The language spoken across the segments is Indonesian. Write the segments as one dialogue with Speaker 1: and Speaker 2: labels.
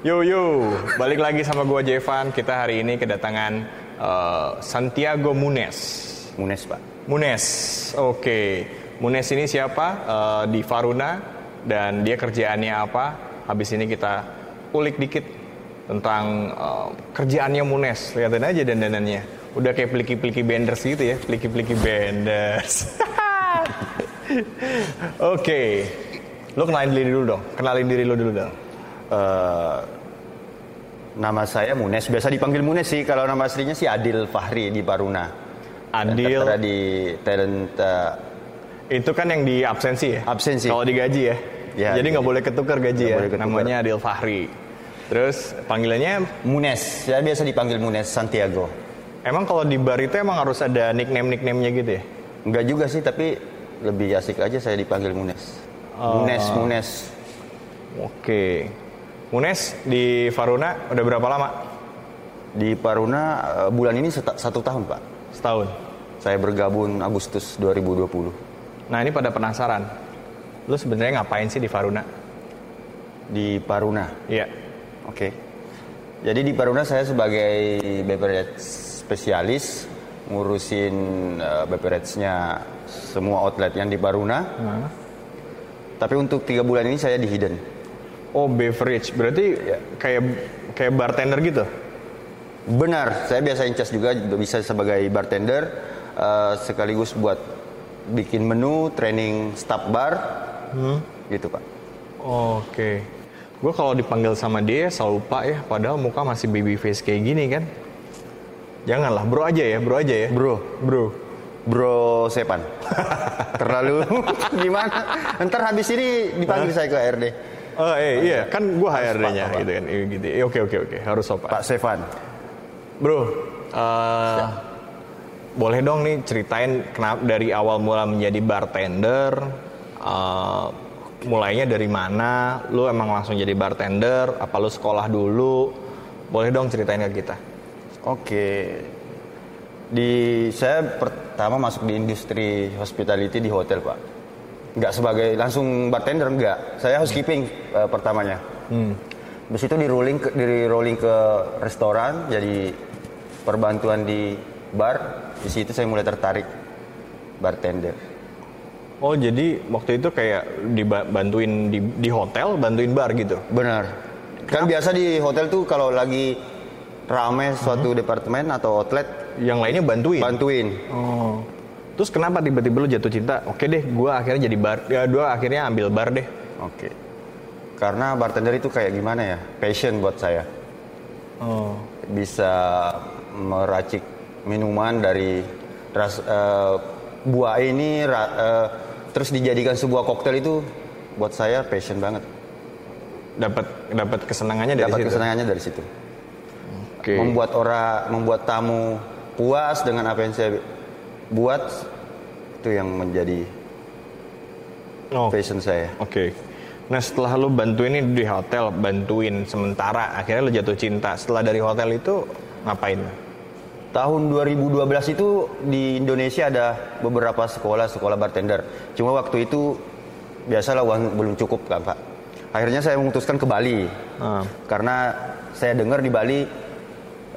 Speaker 1: Yo yo, balik lagi sama gua Jevan. Kita hari ini kedatangan eh, Santiago Munes.
Speaker 2: Munes pak.
Speaker 1: Munes, oke. Munes ini siapa? Eh, di Faruna dan dia kerjaannya apa? Habis ini kita ulik dikit tentang eh, kerjaannya Munes. Lihatin aja dandanannya. Udah kayak peliki-peliki benders gitu ya, peliki-peliki benders. oke. Lo kenalin diri dulu dong. Kenalin diri lo dulu dong.
Speaker 2: Eh, nama saya Munes, biasa dipanggil Munes sih. Kalau nama aslinya sih Adil Fahri di Baruna.
Speaker 1: Adil.
Speaker 2: Tertera di talent eh,
Speaker 1: Itu kan yang di absensi ya?
Speaker 2: Absensi.
Speaker 1: Kalau digaji ya?
Speaker 2: Ya,
Speaker 1: Jadi nggak
Speaker 2: jadi-
Speaker 1: boleh ketukar gaji
Speaker 2: nggak
Speaker 1: ya?
Speaker 2: boleh ketukar.
Speaker 1: Namanya Adil Fahri. Terus panggilannya,
Speaker 2: Munes. Saya biasa dipanggil Munes Santiago.
Speaker 1: emang kalau di bar itu emang harus ada nickname-nickname-nya gitu ya?
Speaker 2: Enggak juga sih, tapi lebih asik aja saya dipanggil Munes.
Speaker 1: Ah.
Speaker 2: Munes, Munes.
Speaker 1: Oke. Munes di Faruna udah berapa lama?
Speaker 2: Di Baruna eh, bulan ini seta- satu tahun pak.
Speaker 1: Setahun.
Speaker 2: Saya bergabung Agustus 2020.
Speaker 1: Nah ini pada penasaran. Lu sebenarnya ngapain sih di Faruna?
Speaker 2: Di Baruna.
Speaker 1: Iya.
Speaker 2: Oke. Jadi di Peruna saya sebagai beverage spesialis ngurusin eh, beverage-nya semua outlet yang di Baruna. Tapi untuk tiga bulan ini saya di hidden.
Speaker 1: Oh beverage, berarti
Speaker 2: Iya.
Speaker 1: kayak kayak bartender gitu?
Speaker 2: Benar, saya biasa incas juga bisa sebagai bartender eh, sekaligus buat bikin menu, training staff bar, gitu pak.
Speaker 1: Oke. Gue kalau dipanggil sama dia selalu lupa ya, padahal muka masih baby face kayak gini kan. Janganlah, bro aja ya, bro aja ya.
Speaker 2: Bro,
Speaker 1: Bro.
Speaker 2: Bro Sepan. Terlalu gimana? Ntar habis ini dipanggil saya ke HRD.
Speaker 1: Oh, eh, iya, kan gue HRD-nya
Speaker 2: sopan.
Speaker 1: gitu kan. Iya, gitu. Eh, Oke, oke, oke, harus sopan.
Speaker 2: Pak Sevan,
Speaker 1: Bro, eh, boleh dong nih ceritain kenapa dari awal mula menjadi bartender, eh, mulainya dari mana, lu emang langsung jadi bartender, apa lu sekolah dulu, boleh dong ceritain ke kita.
Speaker 2: Oke. Di saya pertama masuk di industri hospitality di hotel, Pak. Nggak sebagai langsung bartender enggak. Saya housekeeping eh, pertamanya. Hmm. Habis itu di rolling ke, di rolling ke restoran jadi perbantuan di bar. Di situ saya mulai tertarik bartender.
Speaker 1: Oh jadi waktu itu kayak dibantuin di, di hotel, bantuin bar gitu.
Speaker 2: Benar. Kan biasa di hotel tuh kalau lagi rame suatu departemen atau outlet
Speaker 1: Yang lainnya bantuin.
Speaker 2: Hmm. bantuin.
Speaker 1: oh. Terus kenapa tiba-tiba lu jatuh cinta? Oke deh, gua akhirnya jadi bar, ya dua akhirnya ambil bar deh.
Speaker 2: Oke. Karena bartender itu kayak gimana ya? Passion buat saya.
Speaker 1: Oh.
Speaker 2: Bisa meracik minuman dari ras eh, buah ini ra- eh, terus dijadikan sebuah koktail itu buat saya passion banget.
Speaker 1: Dapat dapat kesenangannya dari
Speaker 2: Dapat
Speaker 1: situ.
Speaker 2: kesenangannya dari situ.
Speaker 1: Oke.
Speaker 2: Membuat orang membuat tamu puas dengan apa yang saya buat itu yang menjadi
Speaker 1: Oh, Oke.
Speaker 2: passion saya.
Speaker 1: Nah setelah lu bantuin ini di hotel, bantuin sementara, akhirnya lu jatuh cinta. Setelah dari hotel itu ngapain?
Speaker 2: Tahun 2012 itu di Indonesia ada beberapa sekolah-sekolah bartender. Cuma waktu itu biasalah uang belum cukup kan Pak. Akhirnya saya memutuskan ke Bali.
Speaker 1: Ah.
Speaker 2: Karena saya dengar di Bali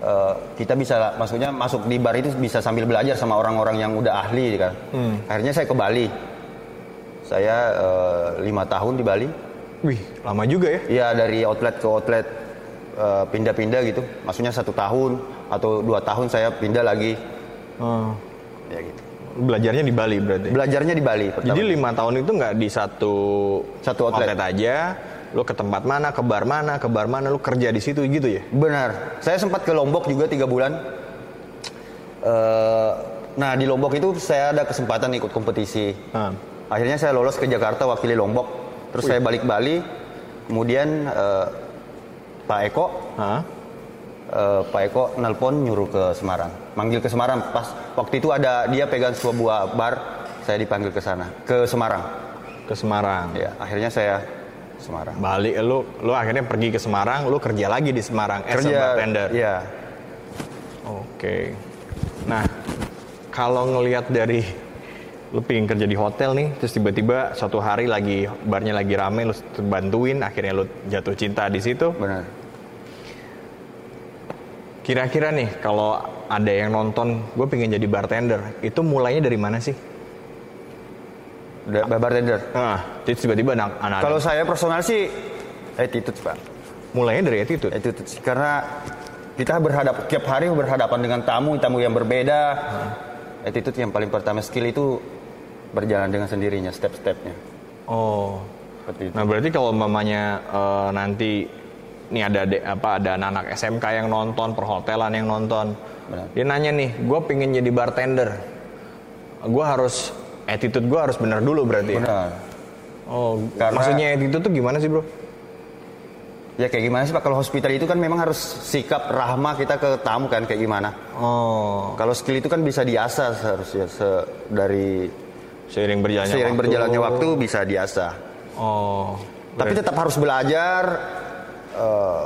Speaker 2: eh, kita bisa maksudnya masuk di bar itu bisa sambil belajar sama orang-orang yang udah ahli kan. Akhirnya saya ke Bali. Saya eh, lima tahun di Bali.
Speaker 1: Wih, lama juga ya?
Speaker 2: Iya dari outlet ke outlet eh, pindah-pindah gitu. Maksudnya satu tahun atau dua tahun saya pindah lagi
Speaker 1: Oh.
Speaker 2: ya gitu.
Speaker 1: Belajarnya di Bali berarti.
Speaker 2: Belajarnya di Bali pertama.
Speaker 1: Jadi lima tahun itu nggak di satu
Speaker 2: Satu outlet.
Speaker 1: aja, lu ke tempat mana, ke bar mana, ke bar mana, lu kerja di situ gitu ya?
Speaker 2: Benar. Saya sempat ke Lombok juga tiga bulan. Eh, nah di Lombok itu saya ada kesempatan ikut kompetisi.
Speaker 1: Hmm.
Speaker 2: Akhirnya saya lolos ke Jakarta wakili Lombok. Terus saya balik Bali. Kemudian eh, Pak Eko,
Speaker 1: Hah?
Speaker 2: eh, Pak Eko nelpon nyuruh ke Semarang, manggil ke Semarang. Pas waktu itu ada dia pegang sebuah buah bar, saya dipanggil ke sana, ke Semarang.
Speaker 1: Ke Semarang.
Speaker 2: Ya, akhirnya saya Semarang.
Speaker 1: Balik lu, lu akhirnya pergi ke Semarang, lu kerja lagi di Semarang as a bartender.
Speaker 2: Iya.
Speaker 1: Oke. Nah, kalau ngelihat dari lu pingin kerja di hotel nih, terus tiba-tiba suatu hari lagi barnya lagi rame, lu bantuin, akhirnya lu jatuh cinta di situ.
Speaker 2: Benar.
Speaker 1: Kira-kira nih kalau ada yang nonton, gue pengen jadi bartender. Itu mulainya dari mana sih?
Speaker 2: Da- bartender.
Speaker 1: Nah, jadi tiba-tiba anak anak
Speaker 2: Kalau saya personal sih attitude pak,
Speaker 1: mulainya dari attitude.
Speaker 2: attitude sih. karena kita berhadap tiap hari berhadapan dengan tamu tamu yang berbeda. Attitude yang paling pertama skill itu berjalan dengan sendirinya step-stepnya.
Speaker 1: Oh.
Speaker 2: Seperti itu.
Speaker 1: Nah, berarti kalau mamanya eh, nanti nih ada adek- apa ada anak-anak SMK yang nonton, perhotelan yang nonton.
Speaker 2: Benar.
Speaker 1: Dia nanya nih, gue pengen jadi bartender. Gue harus attitude gue harus bener dulu berarti. ya?
Speaker 2: Benar.
Speaker 1: Oh,
Speaker 2: Karena-
Speaker 1: maksudnya attitude tuh gimana sih, Bro?
Speaker 2: Ya kayak gimana sih Pak kalau hospital itu kan memang harus sikap rahmah kita ke tamu kan kayak gimana.
Speaker 1: Oh,
Speaker 2: Kalau skill itu kan bisa diasah seharusnya se- dari
Speaker 1: seiring berjalannya
Speaker 2: seiring
Speaker 1: waktu.
Speaker 2: berjalannya waktu bisa diasah.
Speaker 1: Oh.
Speaker 2: Tapi tetap harus belajar eh,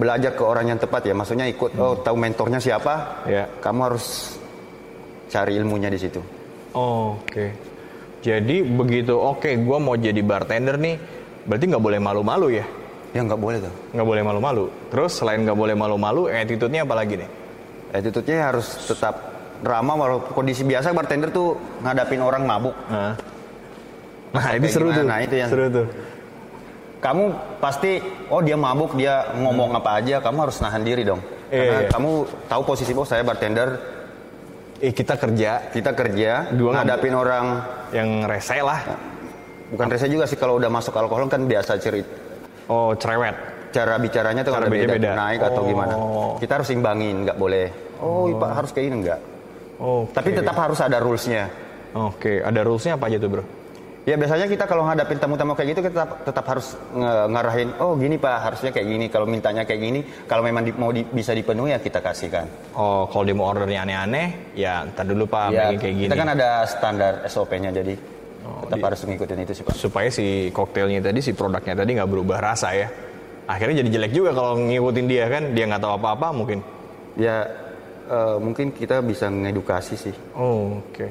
Speaker 2: belajar ke orang yang tepat ya. Maksudnya ikut oh tahu mentornya siapa?
Speaker 1: Hmm. Ya.
Speaker 2: Kamu harus cari ilmunya di situ.
Speaker 1: Oh, oke. Jadi begitu oke, gua mau jadi bartender nih, berarti nggak boleh malu-malu ya?
Speaker 2: Ya nggak boleh tuh.
Speaker 1: Nggak boleh malu-malu. Terus selain nggak boleh malu-malu, attitude-nya apa lagi nih?
Speaker 2: Attitude-nya harus tetap ramah walaupun kondisi biasa bartender tuh ngadapin orang mabuk.
Speaker 1: Nah, nah
Speaker 2: Kayak
Speaker 1: ini seru tuh.
Speaker 2: gimana? Itu yang-
Speaker 1: seru tuh.
Speaker 2: Kamu pasti oh dia mabuk, dia ngomong apa aja, kamu harus nahan diri dong.
Speaker 1: Hmm. Iya,
Speaker 2: Karena
Speaker 1: iya.
Speaker 2: kamu tahu posisi bos saya bartender,
Speaker 1: Eh kita kerja
Speaker 2: kita kerja,
Speaker 1: Dua
Speaker 2: ngadapin orang
Speaker 1: yang rese lah.
Speaker 2: bukan rese juga sih kalau udah masuk alkohol kan biasa cerita
Speaker 1: Oh cerewet.
Speaker 2: cara bicaranya tuh
Speaker 1: Cara
Speaker 2: ada beda,
Speaker 1: beda-beda.
Speaker 2: naik
Speaker 1: Oh.
Speaker 2: atau gimana. Kita harus imbangin, nggak boleh. Oh, Iya, Pak harus kayak gini enggak.
Speaker 1: Oh.
Speaker 2: Tapi tetap harus ada rules-nya.
Speaker 1: Oke, ada rules-nya apa aja tuh bro?
Speaker 2: Ya biasanya kita kalau ngadapin tamu-tamu kayak gitu kita tetap, tetap harus nge- ngarahin, oh gini Pak, harusnya kayak gini. Kalau mintanya kayak gini, kalau memang di- mau di- bisa dipenuhi ya kita kasihkan.
Speaker 1: Oh, kalau dia mau ordernya aneh-aneh, ya ntar dulu pak,
Speaker 2: Ya,
Speaker 1: bagi kayak gini.
Speaker 2: kita kan ada standar SOP-nya jadi tetap harus ngikutin itu sih Pak.
Speaker 1: supaya si koktailnya tadi si produknya tadi nggak berubah rasa ya akhirnya jadi jelek juga kalau ngikutin dia kan dia nggak tahu apa-apa mungkin
Speaker 2: Ya eh, mungkin kita bisa ngedukasi sih.
Speaker 1: oh, oke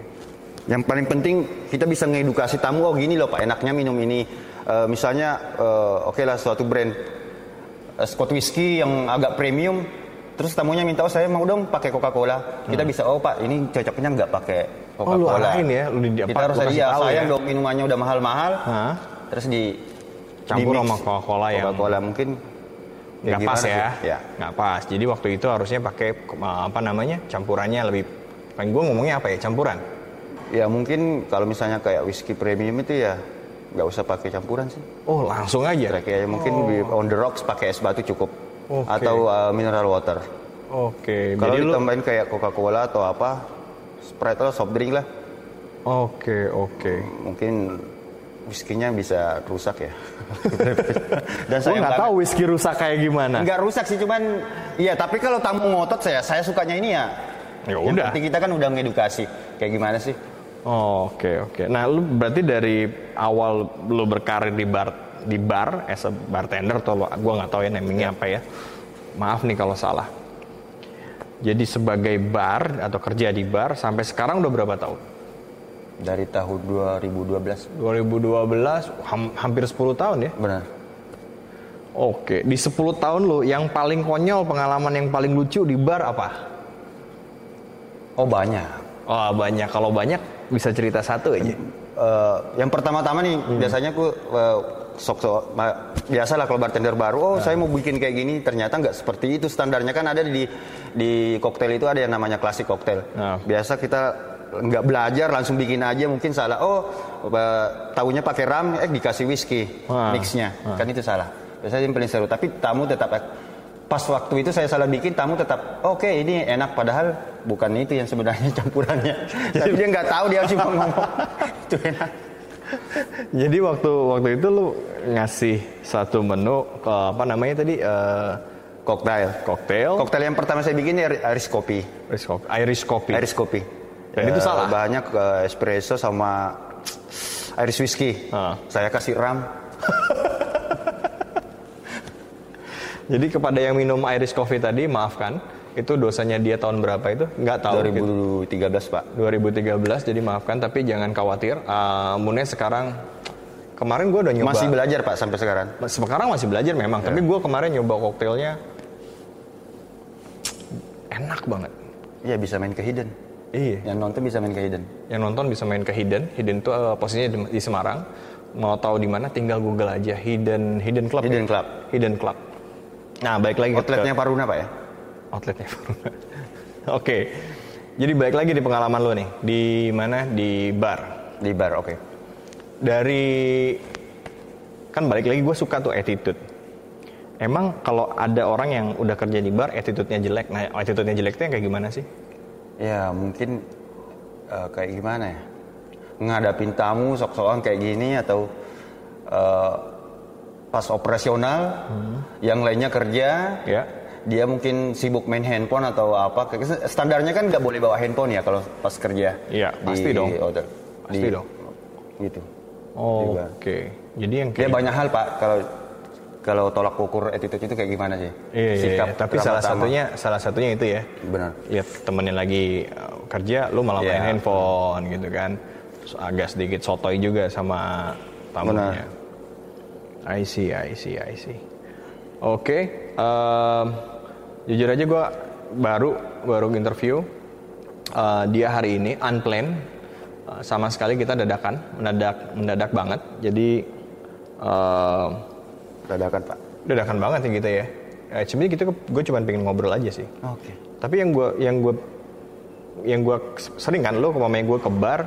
Speaker 2: Yang paling penting kita bisa ngedukasi tamu oh gini loh Pak, enaknya minum ini. Eh, misalnya eh, oke lah suatu brand eh, Scott whisky yang agak premium terus tamunya minta oh saya mau dong pakai Coca-Cola. Kita bisa oh Pak, ini cocoknya nggak pakai
Speaker 1: Hmm. oh lu
Speaker 2: Coca-Cola.
Speaker 1: arahin ya lu di di-
Speaker 2: kita
Speaker 1: apa,
Speaker 2: harus
Speaker 1: lu
Speaker 2: ada
Speaker 1: kasih
Speaker 2: iya,
Speaker 1: tahu
Speaker 2: sayang
Speaker 1: ya.
Speaker 2: dong minumannya udah mahal-mahal.
Speaker 1: Hah?
Speaker 2: Terus di
Speaker 1: Campur
Speaker 2: di-mix.
Speaker 1: sama Coca-Cola yang-
Speaker 2: Coca-Cola mungkin ya
Speaker 1: nggak pas
Speaker 2: gimana
Speaker 1: ya
Speaker 2: sih? Ya.
Speaker 1: nggak pas jadi waktu itu harusnya pakai eh, apa namanya campurannya lebih pengen gue ngomongnya apa ya campuran
Speaker 2: Ya mungkin kalau misalnya kayak whisky premium itu ya nggak usah pakai campuran sih.
Speaker 1: oh langsung aja
Speaker 2: Kayak kayak ya, mungkin di- on the rocks pakai es batu cukup
Speaker 1: Oh. Oke.
Speaker 2: atau uh, mineral water.
Speaker 1: oke
Speaker 2: Kalau
Speaker 1: jadi lu oke
Speaker 2: ditambahin kayak Coca-Cola atau apa, Sprite lah, soft drink lah,
Speaker 1: oke
Speaker 2: mungkin whiskinya bisa rusak ya. Dan
Speaker 1: gue
Speaker 2: saya
Speaker 1: nggak
Speaker 2: nggak-
Speaker 1: tahu whisky rusak kayak gimana
Speaker 2: nggak rusak sih cuman iya tapi kalau tamu ngotot saya saya sukanya ini ya.
Speaker 1: ya
Speaker 2: Yang
Speaker 1: udah
Speaker 2: penting kita kan udah ngedukasi kayak gimana sih?
Speaker 1: Oh, oke oke. Nah, lu berarti dari awal lu berkarir di bar di bar as a bartender atau lu, gua nggak tahu ya namanya apa ya. Maaf nih kalau salah. Jadi sebagai bar atau kerja di bar sampai sekarang udah berapa tahun?
Speaker 2: Dari tahun 2012
Speaker 1: 2012 ham- hampir 10 tahun ya.
Speaker 2: benar.
Speaker 1: Oke, di 10 tahun lu yang paling konyol pengalaman yang paling lucu di bar apa?
Speaker 2: Oh banyak.
Speaker 1: Oh, banyak. Kalau banyak bisa cerita satu aja.
Speaker 2: Eh, yang pertama-tama nih
Speaker 1: Hmm.
Speaker 2: biasanya aku eh, sok-sok ma- biasalah kalau bartender baru oh
Speaker 1: Nah.
Speaker 2: saya mau bikin kayak gini ternyata nggak seperti itu standarnya kan ada di di koktail itu ada yang namanya klasik koktail
Speaker 1: Nah.
Speaker 2: biasa kita nggak belajar langsung bikin aja mungkin salah oh eh, tahunya pakai ram eh dikasih whisky
Speaker 1: Nah.
Speaker 2: mixnya kan itu salah biasanya yang paling seru tapi tamu tetap pas waktu itu saya salah bikin tamu tetap oke ini enak padahal bukan itu yang sebenarnya campurannya tapi dia nggak tahu dia cuma ngomong itu enak
Speaker 1: Jadi waktu waktu itu lu ngasih satu menu ke apa namanya tadi eh
Speaker 2: koktail
Speaker 1: koktail
Speaker 2: koktail yang pertama saya bikin ini Irish kopi
Speaker 1: Irish coffee, Irish coffee.
Speaker 2: Irish kopi
Speaker 1: Dan itu
Speaker 2: Eh,
Speaker 1: salah?
Speaker 2: bahannya eh, espresso sama Irish whiskey
Speaker 1: Ah.
Speaker 2: saya kasih ram
Speaker 1: Jadi kepada yang minum Irish coffee tadi maafkan itu dosanya dia tahun berapa itu nggak tahu kita.
Speaker 2: 2013 pak
Speaker 1: 2013 jadi maafkan tapi jangan khawatir Eh, Mune sekarang kemarin gue udah nyoba
Speaker 2: masih belajar pak sampai sekarang Iya.
Speaker 1: sekarang masih belajar memang tapi gue kemarin nyoba koktailnya enak banget.
Speaker 2: Iya bisa main ke hidden.
Speaker 1: Iya.
Speaker 2: Yang nonton bisa main ke hidden.
Speaker 1: Yang nonton bisa main ke Hidden. Hidden itu eh, posisinya di, di Semarang. Mau tahu di mana tinggal Google aja Hidden Hidden Club.
Speaker 2: Hidden Club.
Speaker 1: Hidden Club.
Speaker 2: Nah, baik lagi outletnya Paruna Pak ya.
Speaker 1: Outletnya. Oke. Jadi balik lagi di pengalaman lo nih. Di mana? Di bar.
Speaker 2: Di bar, oke.
Speaker 1: Dari kan balik lagi gue suka tuh attitude. Emang kalau ada orang yang udah kerja di bar, attitude-nya jelek. Nah, attitude-nya jeleknya kayak gimana sih?
Speaker 2: Ya mungkin eh, kayak gimana ya? Ngadapin tamu sok-sokan kayak gini atau eh, pas operasional, yang lainnya kerja,
Speaker 1: Ya.
Speaker 2: dia mungkin sibuk main handphone atau apa. Kayak- Standarnya kan nggak boleh bawa handphone ya kalau pas kerja.
Speaker 1: Iya,
Speaker 2: di
Speaker 1: pasti dong.
Speaker 2: hotel.
Speaker 1: Pasti dong.
Speaker 2: Gitu.
Speaker 1: Oh,
Speaker 2: Juga.
Speaker 1: Oke. Jadi yang
Speaker 2: Dia
Speaker 1: kayak
Speaker 2: banyak hal pak kalau kalau tolak ukur attitude itu kayak gimana sih?
Speaker 1: Iya, iya, iya. tapi
Speaker 2: ramah
Speaker 1: salah
Speaker 2: tamah.
Speaker 1: satunya salah satunya itu ya.
Speaker 2: benar.
Speaker 1: ya temenin lagi uh, kerja lu malah main
Speaker 2: Iya.
Speaker 1: handphone gitu kan Terus agak sedikit sotoy juga sama tamunya I see I see I see oke em, jujur aja gua baru baru interview Eh, dia hari ini unplanned Eh, sama sekali kita dadakan mendadak mendadak banget jadi em,
Speaker 2: Dadakan pak.
Speaker 1: dadakan banget ya kita ya Eh, sebenarnya kita gue cuma pengen ngobrol aja sih
Speaker 2: Oke.
Speaker 1: tapi yang gue yang gue yang gue sering kan lo mamanya gue ke bar,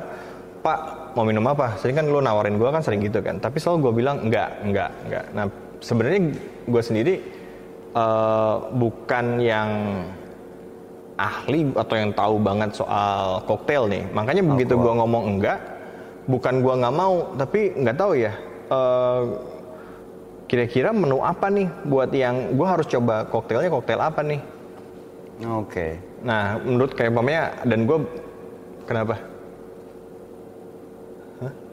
Speaker 1: Pak mau minum apa? Sering kan lo nawarin gue kan sering gitu kan. Tapi selalu gue bilang enggak, enggak, enggak. Nah sebenarnya gue sendiri eh, bukan yang ahli atau yang tahu banget soal koktail nih. Makanya begitu gue ngomong enggak, bukan gue nggak mau, tapi nggak tahu ya. eh, Kira-kira menu apa nih buat yang gue harus coba koktailnya koktail apa nih?
Speaker 2: Oke.
Speaker 1: Nah, menurut kayak umpamanya dan gue kenapa? Hah?